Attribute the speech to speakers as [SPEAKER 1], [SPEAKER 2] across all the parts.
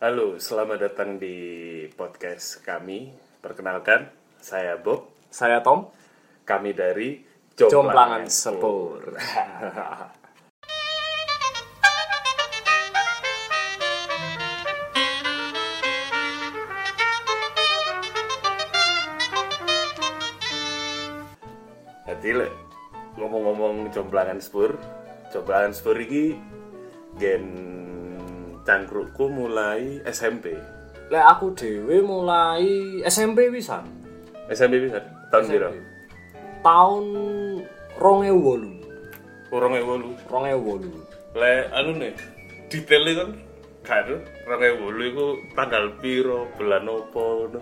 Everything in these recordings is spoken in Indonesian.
[SPEAKER 1] Halo, selamat datang di podcast kami. Perkenalkan, saya Bob.
[SPEAKER 2] Saya Tom,
[SPEAKER 1] Kami dari Jomplangan
[SPEAKER 2] Jomplangan Sepur.
[SPEAKER 1] Jadi le, ngomong-ngomong Jomplangan Sepur, Jomplangan Sepur ini gen cangkrukku mulai SMP.
[SPEAKER 2] Lek aku dhewe mulai SMP pisan.
[SPEAKER 1] SMP bisa tahun piro?
[SPEAKER 2] Tahun 2008.
[SPEAKER 1] Kurang ewolu.
[SPEAKER 2] 2008.
[SPEAKER 1] Le, anu nih, detailnya kan kan orang ewolu itu tanggal piro, bulan opo, no.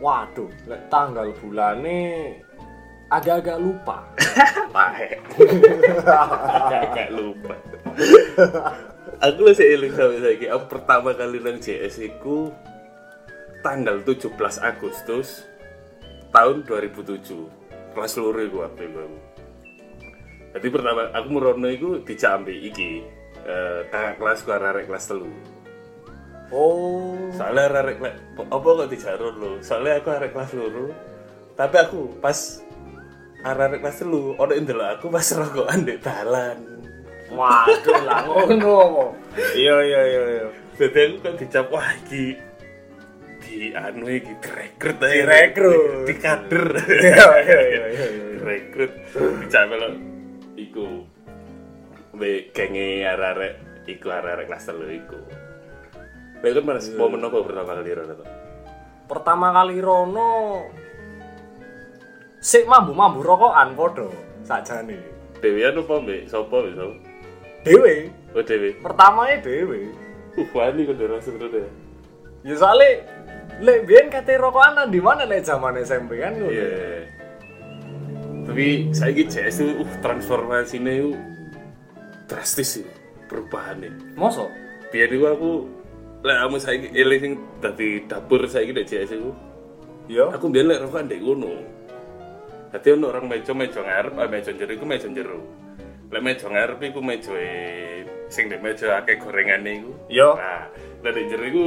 [SPEAKER 2] Waduh, lek tanggal bulane agak-agak lupa.
[SPEAKER 1] Pahe. Kakak lupa. Aku lah sih eling sampai saiki. Aku pertama kali nang JS iku tanggal 17 Agustus tahun 2007. Kelas loro iku aku iku. Jadi pertama aku merono iku di Jambi iki. Eh, kakak kelas ku arek kelas telu
[SPEAKER 2] Oh,
[SPEAKER 1] soalnya arek kelas apa kok dijarur lo soalnya aku arek kelas loro tapi aku pas arek kelas telu ono indelo aku pas rokokan di dalan
[SPEAKER 2] waduh lah ngono. Iya iya iya iya.
[SPEAKER 1] Jadi aku kan dicap wah iki di anu iki direkrut aja.
[SPEAKER 2] Direkrut.
[SPEAKER 1] di kader.
[SPEAKER 2] Iya, iya, iya, iya, iya.
[SPEAKER 1] Direkrut dicap lo iku be kenge arek-arek iku arek-arek kelas telu iku. Lha kan mas
[SPEAKER 2] Iya.
[SPEAKER 1] momen apa pertama kali rono to?
[SPEAKER 2] Pertama kali Rono sik mambu-mambu rokokan podo sakjane.
[SPEAKER 1] Dewian anu apa mbek sapa mbek sapa?
[SPEAKER 2] Dewe,
[SPEAKER 1] Oh Dewi.
[SPEAKER 2] pertamanya dewe.
[SPEAKER 1] Uh wani kan ora sebenarnya.
[SPEAKER 2] Ya soalnya lek biyen kate rokokan nang di mana lek zaman SMP kan ngono.
[SPEAKER 1] Iya. Tapi saya gitu CS itu uh, transformasinya itu drastis sih perubahannya.
[SPEAKER 2] Mosok?
[SPEAKER 1] Biar itu aku lah kamu saya eling sing dari dapur saya gitu CS itu.
[SPEAKER 2] Iya.
[SPEAKER 1] Aku biar lek rokokan dek ngono. Dadi ono orang meja meja ngarep, ah, meja jero iku meja jero. Lek meja ngarep iku meja sing ndek meja akeh gorengane iku.
[SPEAKER 2] Yo.
[SPEAKER 1] Nah, lek ndek jero iku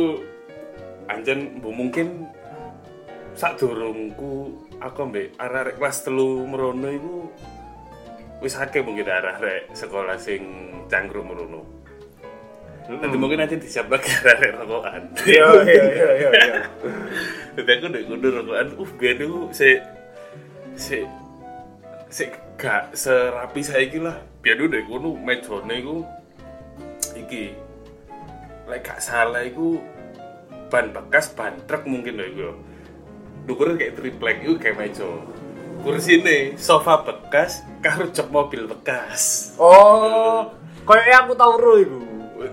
[SPEAKER 1] anjen bu mungkin sak durungku aku mbek arek-arek kelas telu merono iku wis akeh mungkin arek-arek sekolah sing cangkruk merono. Nanti
[SPEAKER 2] Hmm.
[SPEAKER 1] mungkin nanti disiap lagi arek-arek rokokan.
[SPEAKER 2] Iya iya iya iya. iya.
[SPEAKER 1] Tapi aku udah kudu rokokan, uh biar dulu si si si gak serapi saya lah. Biar dulu deh kudu mejone iku iki. Lek gak salah iku ban bekas ban truk mungkin lho iku. Dukurnya kayak triplek iku kayak meja. Kursi ini sofa bekas, karo jok mobil bekas.
[SPEAKER 2] Oh, koyoke aku tau ro iku.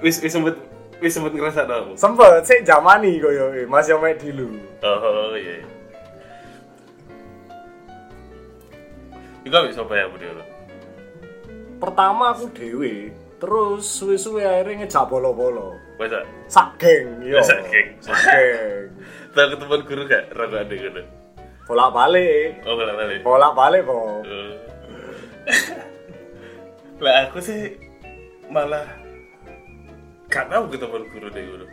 [SPEAKER 1] Wis wis sempet wis sempet ngerasa tau aku.
[SPEAKER 2] Sempet sik zamani koyo e, Mas yo mek dulu.
[SPEAKER 1] Oh iya. Iku wis apa ya budhe lo?
[SPEAKER 2] Pertama aku dewe, terus suwe-suwe akhirnya ngejak bolo-bolo.
[SPEAKER 1] Wes tak?
[SPEAKER 2] Sak geng, yo.
[SPEAKER 1] Sak geng.
[SPEAKER 2] Sak geng.
[SPEAKER 1] Tau ketemuan guru gak rada ada gitu.
[SPEAKER 2] Bolak-balik.
[SPEAKER 1] Oh boleh boleh.
[SPEAKER 2] Bolak-balik kok.
[SPEAKER 1] Eh. Lah aku sih malah gak tau ketemuan guru deh guru.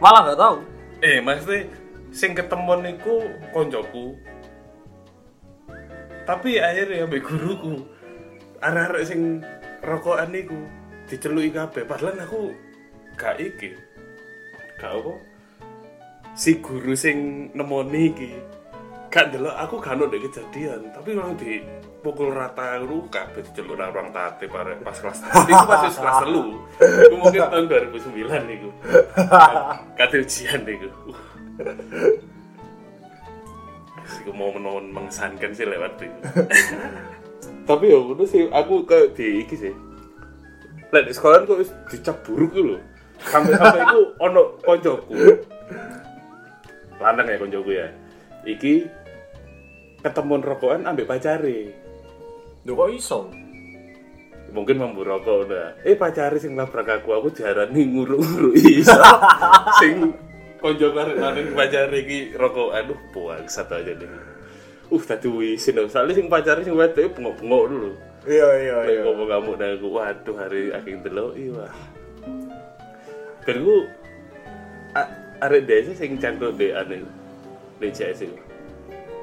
[SPEAKER 2] Malah gak tau.
[SPEAKER 1] Eh maksudnya sing ketemuan niku koncoku. Tapi akhirnya ambek guruku arek-arek sing rokokan niku diceluki kabeh padahal aku gak iki. Gak apa? Si guru sing nemoni iki gak delok aku gak ono ndek kejadian, tapi memang di pukul rata lu kabeh diceluk nang ruang tate bareng pas kelas tate iku pas wis kelas telu. Iku mungkin tahun 2009 niku. Kate ujian niku. Uh. Iku mau menon mengesankan sih lewat itu. Tapi ya udah sih aku ke di iki sih. Lah di sekolahan kok wis dicap buruk lho. Sampai-sampai iku ono koncoku. Lanang ya koncoku ya. Iki ketemuan rokokan ambek pacare.
[SPEAKER 2] Lho kok iso?
[SPEAKER 1] Mungkin mambu rokok udah. Eh pacare sing labrak aku aku diarani nguruk-nguruk iso. sing konco arek lanang pacare iki rokok aduh buang satu aja deh. Uh tadi wisin dong. Soalnya sing pacare sing wedok bengok-bengok dulu.
[SPEAKER 2] Iya iya
[SPEAKER 1] Lek
[SPEAKER 2] iya.
[SPEAKER 1] ngomong kamu dan aku, waduh hari akhir delok iya. Dan aku arek desa sing cangkruk di anu DCS itu.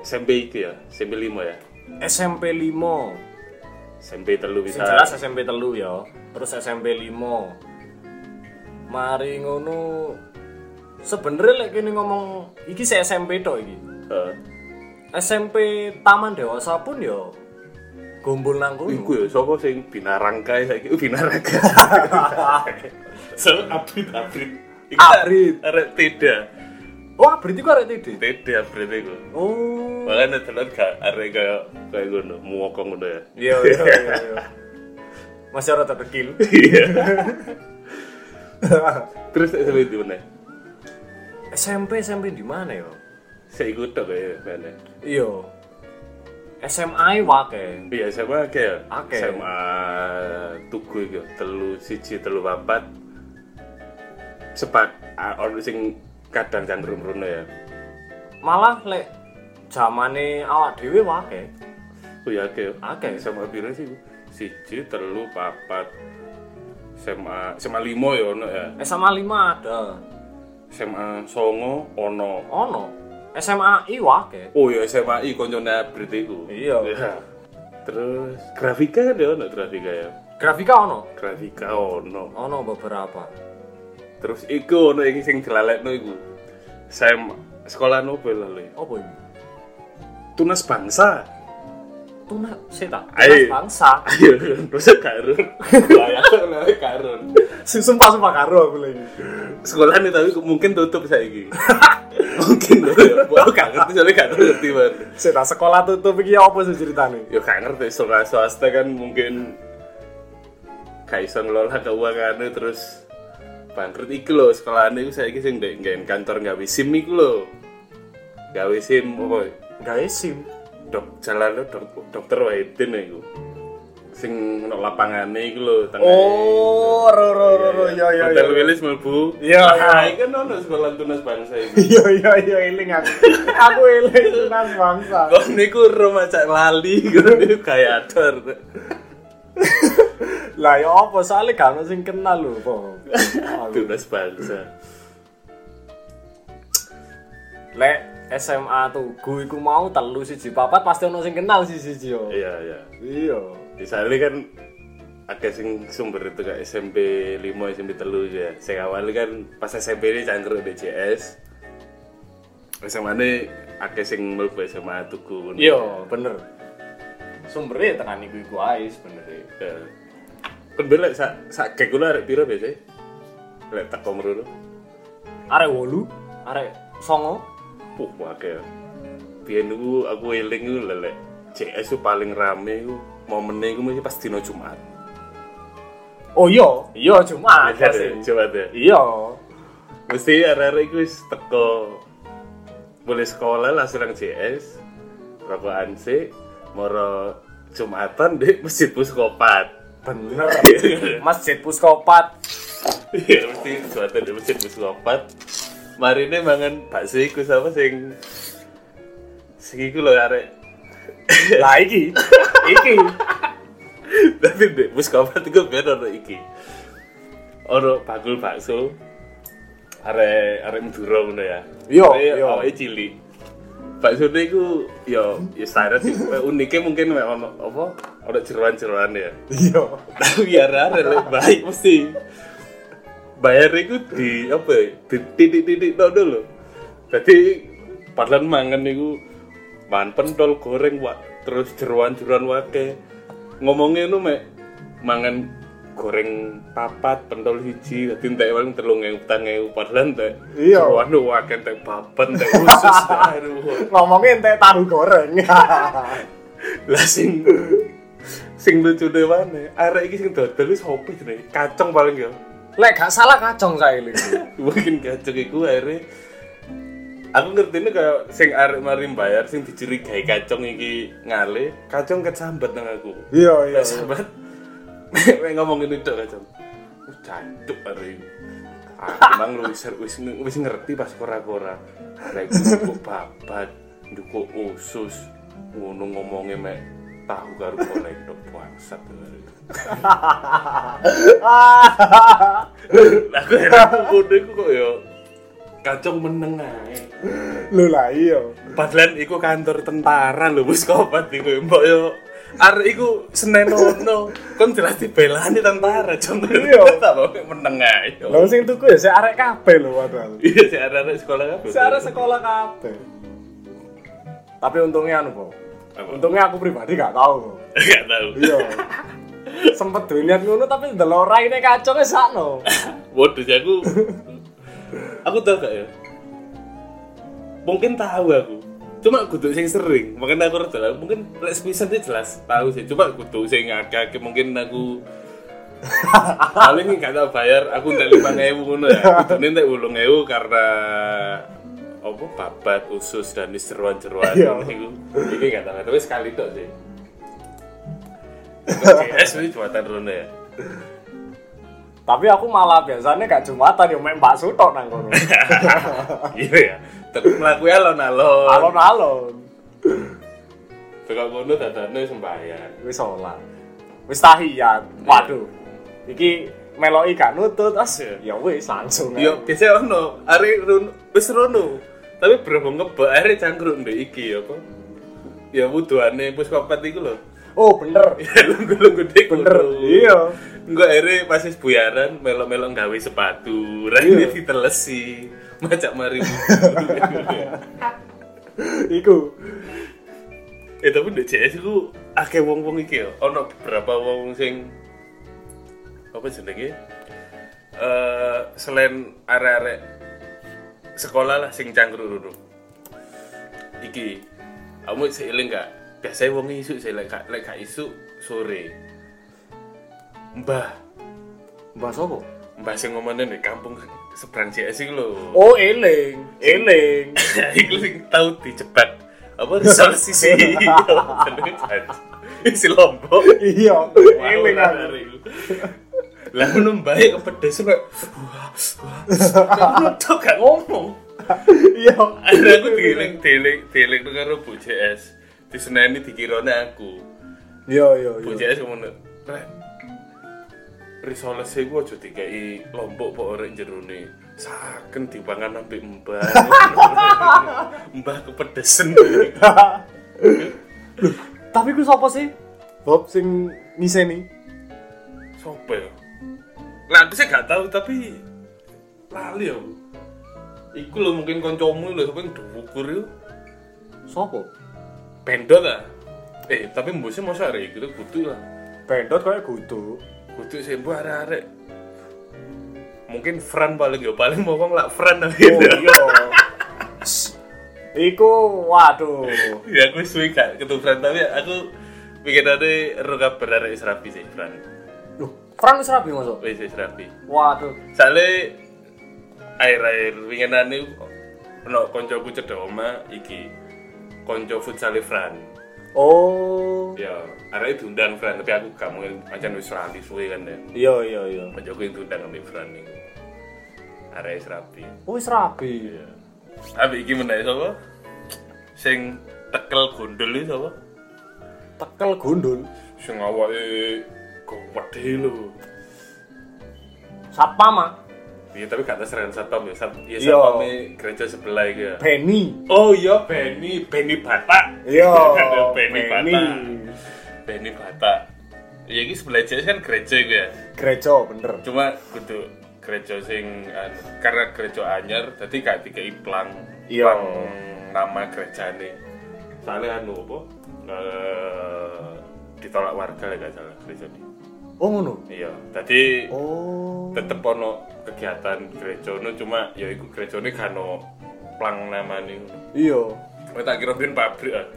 [SPEAKER 1] SMP iki ya, SMP 5 ya.
[SPEAKER 2] SMP 5
[SPEAKER 1] SMP telu
[SPEAKER 2] Sing
[SPEAKER 1] bisa.
[SPEAKER 2] jelas SMP telu ya terus SMP 5 mari ngono sebenernya lek kene ngomong iki se SMP tok iki
[SPEAKER 1] Eh,
[SPEAKER 2] SMP Taman Dewasa pun ya gombol nang kono
[SPEAKER 1] iku ya sapa sing binarang kae saiki Oh, binarang. kae. so abrit abrit. Iku
[SPEAKER 2] Abrit.
[SPEAKER 1] Arek tidak.
[SPEAKER 2] wah berarti kok arek TD
[SPEAKER 1] Tidak abrit iku.
[SPEAKER 2] oh
[SPEAKER 1] Makanya telur gak arek kaya kaya ngono, muokong ngono ya.
[SPEAKER 2] iya iya iya iya. masih orang terkecil
[SPEAKER 1] Iya. Terus SMP di mana?
[SPEAKER 2] SMP SMP di mana ya
[SPEAKER 1] Saya ikut tok ya, mana?
[SPEAKER 2] iya SMA wae
[SPEAKER 1] Iya, SMA akeh ya.
[SPEAKER 2] Akeh.
[SPEAKER 1] SMA tuku iki ya, telu siji telu papat. Sepat ah, ono sing kadang cangkrum rono ya.
[SPEAKER 2] malah lek zamane awak dhewe wae
[SPEAKER 1] Oh ya akeh. ya.
[SPEAKER 2] Akeh.
[SPEAKER 1] SMA piro sih? iku? Siji telu papat. SMA SMA 5 ya ono ya.
[SPEAKER 2] SMA 5 ada
[SPEAKER 1] SMA songo ono.
[SPEAKER 2] ono SMA I wae
[SPEAKER 1] Oh ya SMA I koncone abrit iku.
[SPEAKER 2] Iya.
[SPEAKER 1] Ya. Terus grafika kan ya ono grafika ya.
[SPEAKER 2] grafika ono
[SPEAKER 1] Grafika ono.
[SPEAKER 2] ono beberapa
[SPEAKER 1] Terus iku ono iki sing dilalekno iku. Sem sekolah nopo lho.
[SPEAKER 2] apa ini
[SPEAKER 1] Tunas bangsa.
[SPEAKER 2] tunas seta
[SPEAKER 1] Ayo.
[SPEAKER 2] tunas bangsa
[SPEAKER 1] Ayo, terus karun. Layak lho karun.
[SPEAKER 2] sumpah sumpah karo aku lagi
[SPEAKER 1] Sekolah nih tapi mungkin tutup saiki. mungkin lho. Aku gak ngerti soalnya gak ngerti banget.
[SPEAKER 2] seta sekolah tutup iki apa sih ceritane
[SPEAKER 1] Yo gak ngerti sekolah swasta kan mungkin gak iso ngelola keuangannya terus bangkrut iku lho sekolahane iku saiki sing ndek nggaen kantor gawe SIM iku lho. Gawe SIM apa?
[SPEAKER 2] gawe sim
[SPEAKER 1] dok jalan lo dok, dokter Wahidin ya iku. Sing ono lapangane iku lho tengah.
[SPEAKER 2] oh ro ro ro ro ya ya
[SPEAKER 1] Hotel Wilis mlebu.
[SPEAKER 2] Iya, iya.
[SPEAKER 1] Nah, iku ono sekolah tunas bangsa iku.
[SPEAKER 2] Iya iya iya eling aku. Aku eling tunas bangsa.
[SPEAKER 1] Kok niku rumah cak lali kok niku kaya ador.
[SPEAKER 2] Lah ya apa soalnya gak ono sing kenal lho, Po.
[SPEAKER 1] tunas bangsa.
[SPEAKER 2] Lek SMA Tugu iku mau telu siji papat pasti ono sing kenal siji siji yo.
[SPEAKER 1] Iya, iya.
[SPEAKER 2] Iya.
[SPEAKER 1] Disale kan akeh sing sumber itu kayak SMP 5, SMP 3 ya. Sing awal kan pas SMP ini cangkruk DJS. SMA ini akeh sing mlebu SMA tuku.
[SPEAKER 2] Iya, bener. Sumbernya tekan iku iku ae e. sebenere.
[SPEAKER 1] Eh, Kan bela sak sak kek kula arek piro biasa? Lek teko mrene.
[SPEAKER 2] Arek 8, arek 9.
[SPEAKER 1] Puh, akeh. Biyen niku aku eling iku lelek. CS ku paling rame iku momene iku mesti pas dina Jumat.
[SPEAKER 2] Oh iya, iya cuma
[SPEAKER 1] Iya, Jumat ya.
[SPEAKER 2] Iya.
[SPEAKER 1] Mesti arek-arek iku wis teko boleh sekolah langsung nang CS. Rokokan sik moro Jumatan di Masjid Puskopat.
[SPEAKER 2] Bener. Masjid Puskopat.
[SPEAKER 1] Iya, mesti Jumatan di Masjid Puskopat. Marine mangan bakso iku sama sing sing iku lho arek
[SPEAKER 2] Lah iki. Iki.
[SPEAKER 1] Tapi di Muskopat itu biar ono iki. Ono bakul bakso. Are are Madura ngono ya.
[SPEAKER 2] Yo,
[SPEAKER 1] Are-
[SPEAKER 2] yo.
[SPEAKER 1] Awake cilik. Bakso iku yo yo standar sih. Kayak Uniknya mungkin mek ono apa? Ono jeroan-jeroan ya.
[SPEAKER 2] Iya.
[SPEAKER 1] Tapi ya are lek baik mesti. Bayar iku di apa ya? Di titik-titik tok dulu. Berarti padahal mangan niku bahan pentol goreng wa, terus jeruan-jeruan wake. Ngomongnya nu mek mangan goreng papat pentol hiji dadi entek paling 3000 tangewu padahal entek
[SPEAKER 2] Iya.
[SPEAKER 1] jeruan nu wake entek papan entek usus aduh
[SPEAKER 2] Ngomongin teh tahu goreng.
[SPEAKER 1] lah sing sing lucu deh mana arek iki sing dodol wis hobi jenenge kacang paling ya
[SPEAKER 2] Lek gak salah kacang saya ini.
[SPEAKER 1] mungkin kacang iku akhirnya aku ngerti ini kayak sing arek mari bayar sing dicurigai kacang iki ngale kacang kesambat nang aku
[SPEAKER 2] Iya iya.
[SPEAKER 1] kesambat mek ngomong ini tok kacang Wih, jancuk arek iki aku mang lu wis wis wis ngerti pas kora-kora arek iki kok babat ndukuk usus ngono ngomongnya mek tahu karo goreng tok bangsat arek iki. aku heran aku kode aku kok yo kacung meneng ae.
[SPEAKER 2] Lho lah iya.
[SPEAKER 1] Padahal iku kantor tentara lho wis kopat iku mbok yo arek iku Senin ono kon jelas dibelani tentara contoh
[SPEAKER 2] Iya.
[SPEAKER 1] tak mau meneng ae.
[SPEAKER 2] Lah sing tuku ya sik arek kabeh lho padahal.
[SPEAKER 1] Iya si arek-arek sekolah kan.
[SPEAKER 2] Sik arek sekolah kabeh. Tapi untungnya anu, Bo.
[SPEAKER 1] Apa?
[SPEAKER 2] Untungnya aku pribadi gak tahu. Bo.
[SPEAKER 1] Enggak tahu.
[SPEAKER 2] Iya. Sempet duwe niat ngono tapi ndelok raine kacone sakno.
[SPEAKER 1] Waduh, sih aku aku tau gak ya? Mungkin tahu aku. Cuma kudu sing sering, makanya aku rada lah. Mungkin lek sepisan itu jelas tahu sih. Cuma kudu sing ngakak mungkin aku paling nggak tau bayar aku ndak lima ewu ngono ya kudu ndak ulung ewu karena apa babat usus dan wis jeruan-jeruan
[SPEAKER 2] Iya.
[SPEAKER 1] ngono iku iki nggak tau tapi sekali tok sih CS wis buatan rono ya
[SPEAKER 2] Tapi aku malah biasanya gak jumatan ya mek Mbak Sutok nang kono.
[SPEAKER 1] iya ya tapi melakukan alon-alon
[SPEAKER 2] Alon-alon
[SPEAKER 1] Tekan kono dadane sembahyang.
[SPEAKER 2] wis sholat. Wis tahiyat. Waduh. Iki meloki gak nutut as ya wis langsung. ae.
[SPEAKER 1] Yo biasa ono, ari run wis rono. Tapi berhubung ngebak ari cangkruk ndek iki ya apa? Ya wuduane puskopat iku lho.
[SPEAKER 2] Oh bener.
[SPEAKER 1] Ya lungguh-lungguh dik.
[SPEAKER 2] Bener.
[SPEAKER 1] kono.
[SPEAKER 2] Iya.
[SPEAKER 1] Engko ari pas wis buyaran melok-melok gawe sepatu, rene ditelesi. Macak mari.
[SPEAKER 2] Iku.
[SPEAKER 1] eh tapi ndek CS ku akeh wong-wong iki ya. Ono beberapa wong sing apa jenenge? Eh selain arek-arek sekolah lah sing cangkruk dulu. Iki kamu seiling gak? Biasanya wong isuk sih lek gak- lek gak isuk sore. Mbah,
[SPEAKER 3] Mbak Sopo?
[SPEAKER 1] mbah sing ngomongnya di kampung seberang CS iku lho.
[SPEAKER 2] Oh eling, eling.
[SPEAKER 1] Iku sing tau dijebak apa risol sisi jenenge sisi lombok
[SPEAKER 2] iya, eling
[SPEAKER 1] Wah,
[SPEAKER 2] aku.
[SPEAKER 1] lari. lah ngono bae kepedesan kayak wah wah nutuk gak ngomong
[SPEAKER 2] Iya.
[SPEAKER 1] ada aku dieling dieling dieling tuh karo Bu JS diseneni dikirone aku
[SPEAKER 2] Iya, iya,
[SPEAKER 1] Bu
[SPEAKER 2] iya.
[SPEAKER 1] JS ngomong "Rek, risoles iku aja dikai lombok po orek jerone saken dipangan sampai mbah mbah kepedesan
[SPEAKER 2] Tapi ku sapa sih? Bob sing ngiseni.
[SPEAKER 1] Sopo ya? Lah aku sih gak tahu tapi lali ya. Iku lho mungkin kancamu lho sampe duwukur yo.
[SPEAKER 2] Sopo?
[SPEAKER 1] Bendot lah. Eh, tapi mbose masa arek iku kudu lah.
[SPEAKER 2] Bendot kayak gudu.
[SPEAKER 1] Kudu sih mbok arek-arek. Mungkin Fran paling yo paling mau wong lak Fran tapi. ya.
[SPEAKER 2] Oh iya. Iku waduh.
[SPEAKER 1] ya aku suwi gak ketemu Fran tapi aku pikirane ro kabar arek wis rapi sih Fran.
[SPEAKER 2] Loh, Fran wis rapi masuk.
[SPEAKER 1] Wis wis rapi.
[SPEAKER 2] Waduh.
[SPEAKER 1] Sale air-air winginane ono koncoku cedhek oma iki. Konco futsal e Fran.
[SPEAKER 2] Oh.
[SPEAKER 1] Ya, arek diundang Fran tapi aku gak mungkin pancen wis rapi suwe kan ya.
[SPEAKER 2] Iya, iya, iya.
[SPEAKER 1] Koncoku yang diundang ambek Fran niku. Arek wis rapi.
[SPEAKER 2] Oh, wis rapi.
[SPEAKER 1] Ya. Abi iki menawa sapa? Sing tekel gondol iki sapa?
[SPEAKER 2] Tekel gundul.
[SPEAKER 1] Sing awake gede lho.
[SPEAKER 2] Satpam ah.
[SPEAKER 1] Iya tapi gak atas Ren Satpam ya. Sat ya
[SPEAKER 2] Iya.
[SPEAKER 1] Satpam gereja sebelah iki ya.
[SPEAKER 2] Benny.
[SPEAKER 1] Oh iya Benny, Benny Batak.
[SPEAKER 2] Iya.
[SPEAKER 1] Benny Batak. Benny Batak. Ya iki sebelah JS kan gereja iku ya.
[SPEAKER 2] Gereja bener.
[SPEAKER 1] Cuma kudu gereja sing anu, karena gereja anyar dadi gak dikei plang.
[SPEAKER 2] Iya.
[SPEAKER 1] plang nama gerejane. Soalnya anu apa? Eh ditolak warga ya gak salah gereja ini.
[SPEAKER 2] Oh ngono.
[SPEAKER 1] Iya, tadi
[SPEAKER 2] Oh.
[SPEAKER 1] tetep ono kegiatan gereja ono cuma ya iku gerejane gak ono plang namane.
[SPEAKER 2] Iya.
[SPEAKER 1] Kowe tak kira ben pabrik ah.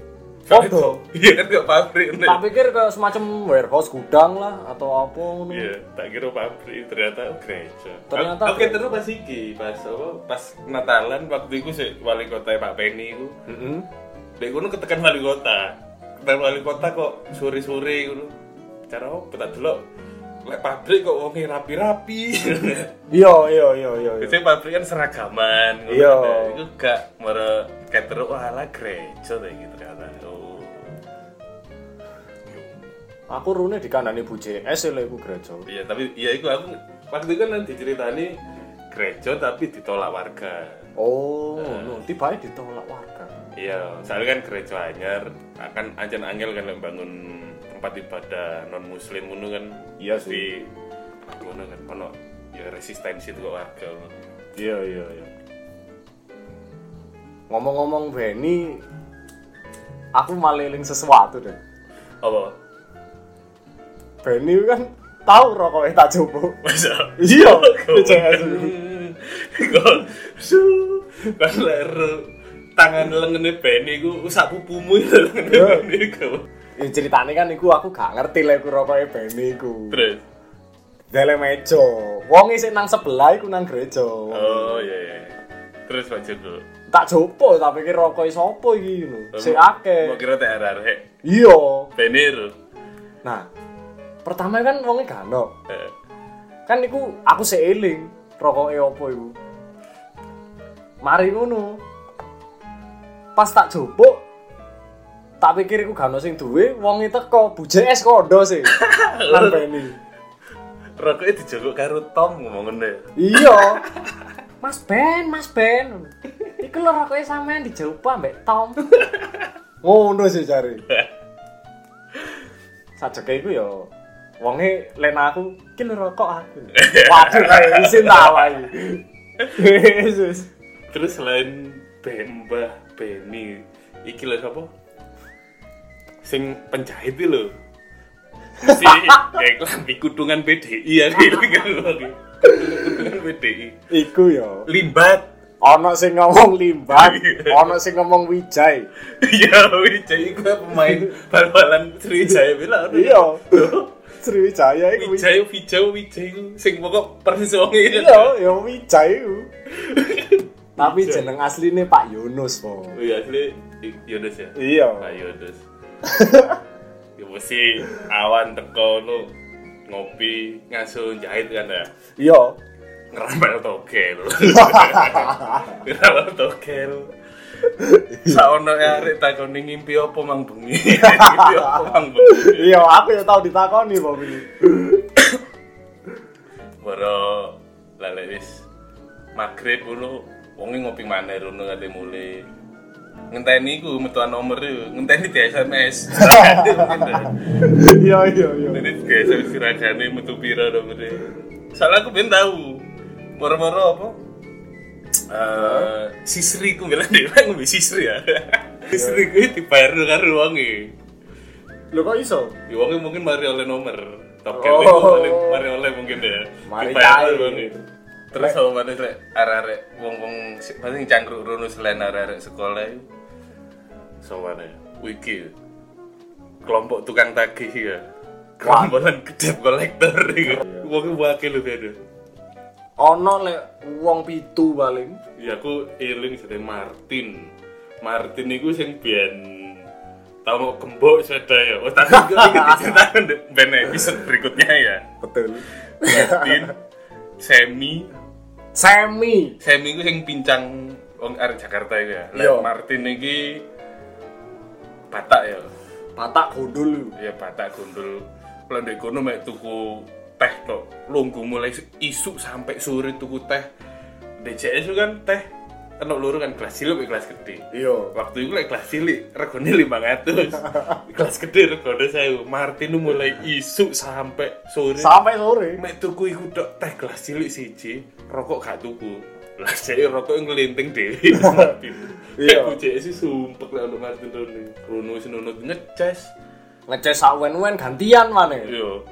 [SPEAKER 2] Foto.
[SPEAKER 1] Iya kan kok pabrik nih.
[SPEAKER 2] Tak pikir kayak semacam warehouse gudang lah atau apa ngono.
[SPEAKER 1] Iya, tak kira pabrik ternyata gereja.
[SPEAKER 2] Ternyata
[SPEAKER 1] Oke,
[SPEAKER 2] gereja.
[SPEAKER 1] terus pas iki, pas apa? Pas Natalan waktu itu sih wali kota Pak Penny iku.
[SPEAKER 2] Heeh.
[SPEAKER 1] Dek kono ketekan wali kota. Ketekan wali kota kok sore-sore ngono. Cara apa tak delok? Lek pabrik kok wonge rapi-rapi.
[SPEAKER 2] Iya, iya, iya, iya. iya.
[SPEAKER 1] Biasanya pabrik kan seragaman ngono
[SPEAKER 2] Iya.
[SPEAKER 1] kan. Iku gak mere keteruk ala gereja ta iki ternyata. Oh.
[SPEAKER 2] Aku rune dikandani Bu JS lho iku gereja.
[SPEAKER 1] Iya, tapi iya iku aku waktu itu kan yang diceritani gereja tapi ditolak warga.
[SPEAKER 2] Oh, no, tiba ditolak warga.
[SPEAKER 1] Iya, soalnya kan gereja anyar akan ancen angel kan lek bangun tempat ibadah non muslim ngono kan.
[SPEAKER 2] Iya sih.
[SPEAKER 1] Di ngono kan ono ya resistensi tuh warga. ngono.
[SPEAKER 2] Iya, iya, iya. Ngomong-ngomong Benny, aku maleling sesuatu deh.
[SPEAKER 1] Apa?
[SPEAKER 2] Benny kan tahu rokoknya tak coba.
[SPEAKER 1] Masa?
[SPEAKER 2] Iya, BCS.
[SPEAKER 1] Kok su kan leru tangan lengene Benny ku usak pupumu itu lengene
[SPEAKER 2] Iya.
[SPEAKER 1] Benny ku.
[SPEAKER 2] Ya ceritane kan iku aku gak ngerti lek rokoknya Benny iku.
[SPEAKER 1] Terus.
[SPEAKER 2] Dele meja. Wong sing nang sebelah iku nang gereja.
[SPEAKER 1] Oh iya iya. Terus lanjut dulu.
[SPEAKER 2] Tak jopo tak pikir rokok sapa iki ngono. Sik akeh.
[SPEAKER 1] Mau kira TRR hek.
[SPEAKER 2] Iya.
[SPEAKER 1] Benny ru.
[SPEAKER 2] Nah, pertama kan wonge gak ono.
[SPEAKER 1] Eh,
[SPEAKER 2] Kan iku aku sik eling rokoke opo iku. Mari ngono. Pas tak jopo tak pikir iku gak ono sing duwe, wong teko bujek es kondo sih. Lan Benny.
[SPEAKER 1] Rokoknya dijogok karo Tom ngomong ngene.
[SPEAKER 2] Iya. Mas Ben, Mas Ben. Iku lho rokoknya sampean dijawab ambek Tom. Ngono sih cari. Sajeke iku ya wonge lena aku, iki lho rokok aku. Waduh kayak isin ta wae. Yesus.
[SPEAKER 1] Terus selain Bemba, Beni, iki lho sapa? Sing penjahit iki lho. Si kayak klambi kudungan PDI ya iki Kudungan PDI.
[SPEAKER 2] Iku ya.
[SPEAKER 1] Limbat.
[SPEAKER 2] Ana sing ngomong limbat, ana sing ngomong wijay.
[SPEAKER 1] Ya Wijaya iku pemain bal-balan Sriwijaya bila ono.
[SPEAKER 2] Iya. Sriwijaya iku. wi-
[SPEAKER 1] Wijaya, Wijaya, Wijaya iku sing pokok persis wong iki.
[SPEAKER 2] Iya, ya wijay iku. Tapi jeneng asline Pak Yunus po.
[SPEAKER 1] Iya asli Yunus ya.
[SPEAKER 2] Iya.
[SPEAKER 1] Ayo terus. ya mesti awan teko lu ngopi ngasuh jahit kan ya.
[SPEAKER 2] Iya.
[SPEAKER 1] Ngerampel togel. Ngerampel togel. Saono ya arek takoni ngimpi apa mang bengi. Ngimpi apa mang bengi.
[SPEAKER 2] Iya, aku ya tau ditakoni Pak Bini.
[SPEAKER 1] Boro lele wis magrib ngono wonge e ngopi maneh ngono kate mule. Ngenteni ku metuan nomor yuk, ngenteni di SMS.
[SPEAKER 2] Iya, iya, iya.
[SPEAKER 1] Jadi kayak saya siragane metu pira dong gede. Soalnya aku ben tahu. Moro-moro apa? Eh, sisri ku bilang dia bilang ngombe sisri ya. sisri ku dibayar e. dengan ruangnya.
[SPEAKER 2] Lho kok iso?
[SPEAKER 1] Ya uangnya mungkin mari oleh nomor. Top
[SPEAKER 2] Oh.
[SPEAKER 1] Gun itu paling mari oleh mungkin ya.
[SPEAKER 2] Mari
[SPEAKER 1] Dibayar
[SPEAKER 2] tahu.
[SPEAKER 1] ruangnya. Terus sama mana lek arek-arek wong-wong si- paling cangkruk rono selain arek-arek sekolah itu. Sama mana? Wiki. Kelompok tukang tagih ya. Kerombolan kedep kolektor iku. Wong wakil lho ada.
[SPEAKER 2] Ono lek wong pitu paling.
[SPEAKER 1] Ya aku eling jeneng Martin. Martin iku sing biyen tau mau gembok sepeda ya. Oh, tapi aku inget diceritakan deh, ben episode berikutnya ya.
[SPEAKER 2] Betul.
[SPEAKER 1] Martin, Semi,
[SPEAKER 2] Semi.
[SPEAKER 1] Semi iku sing pincang wong arek Jakarta iku ya.
[SPEAKER 2] Iya.
[SPEAKER 1] Lek Martin iki Batak ya.
[SPEAKER 2] Patak gundul.
[SPEAKER 1] Ya Batak gondol. Kalau di kono mek tuku teh tok. Lunggu mulai isuk sampai sore tuku teh. DCS itu kan teh enak loro kan kelas cilik kelas gede.
[SPEAKER 2] Iya.
[SPEAKER 1] Waktu itu lek kelas cilik regane 500. kelas gede regane 1000. Martin itu mulai isuk sampai sore.
[SPEAKER 2] Sampai sore.
[SPEAKER 1] Mek tuku iku tok teh gelas cilik siji, rokok gak tuku. Lah jek rokok nglinting dhewe.
[SPEAKER 2] Iya.
[SPEAKER 1] Iya. Aku jek sih sumpek lek ono Martin Roni. Krono senunut ngeces.
[SPEAKER 2] Ngeces sawen-wen gantian maneh.
[SPEAKER 1] Iya.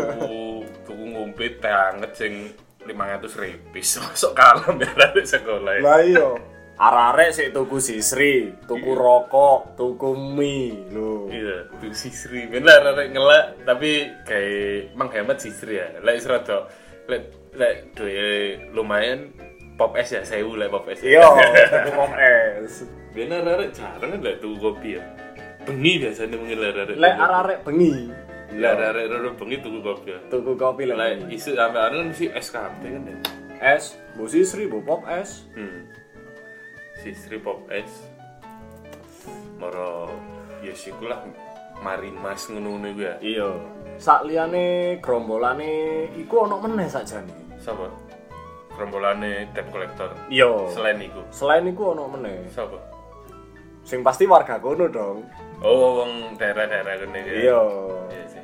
[SPEAKER 1] Tuku tuku ngombe teh anget sing 500 repis. Masuk kalem ya dari sekolah. ya.
[SPEAKER 2] Lah iya. Arek-arek sik tuku sisri, tuku rokok, tuku mie lho.
[SPEAKER 1] Iya, tuh sisri bener arek ngelak tapi kayak menghemat sisri ya. Lek wis rada lek lek duwe lumayan pop es ya sewu lek pop es.
[SPEAKER 2] Iya, tuku pop es.
[SPEAKER 1] Biasanya arek jarang kan lah tuku kopi ya. Bengi biasanya mungkin lah arek.
[SPEAKER 2] Lek arek-arek bengi,
[SPEAKER 1] Lah arek roro bengi tuku kopi ya.
[SPEAKER 2] tuku kopi lek.
[SPEAKER 1] Lah
[SPEAKER 2] bengi.
[SPEAKER 1] isu sampe anu kan mesti SKP kan ya.
[SPEAKER 2] Es, bu sisri, bu pop es.
[SPEAKER 1] Hmm. Sisri pop es. Moro ya siku lah marimas ngono-ngono iku ya.
[SPEAKER 2] Iya. Sak liyane grombolane iku ana meneh sakjane.
[SPEAKER 1] Sapa? gerombolane debt collector
[SPEAKER 2] Iya.
[SPEAKER 1] selain iku
[SPEAKER 2] Selain iku ono meneh.
[SPEAKER 1] sapa
[SPEAKER 2] Sing pasti warga kono dong.
[SPEAKER 1] oh wong daerah-daerah kene ya.
[SPEAKER 2] Iya.
[SPEAKER 1] iya sih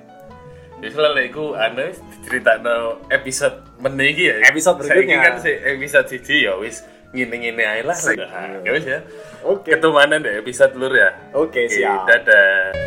[SPEAKER 1] Ya selalu iku anu diceritano episode meneh iki ya.
[SPEAKER 2] Episode berikutnya.
[SPEAKER 1] Saiki kan si episode siji ya wis ngene-ngene ae lah.
[SPEAKER 2] Sik.
[SPEAKER 1] Nah, Ya wis ya.
[SPEAKER 2] Oke.
[SPEAKER 1] Ketumanan deh episode lur ya.
[SPEAKER 2] Oke, siap.
[SPEAKER 1] Dadah.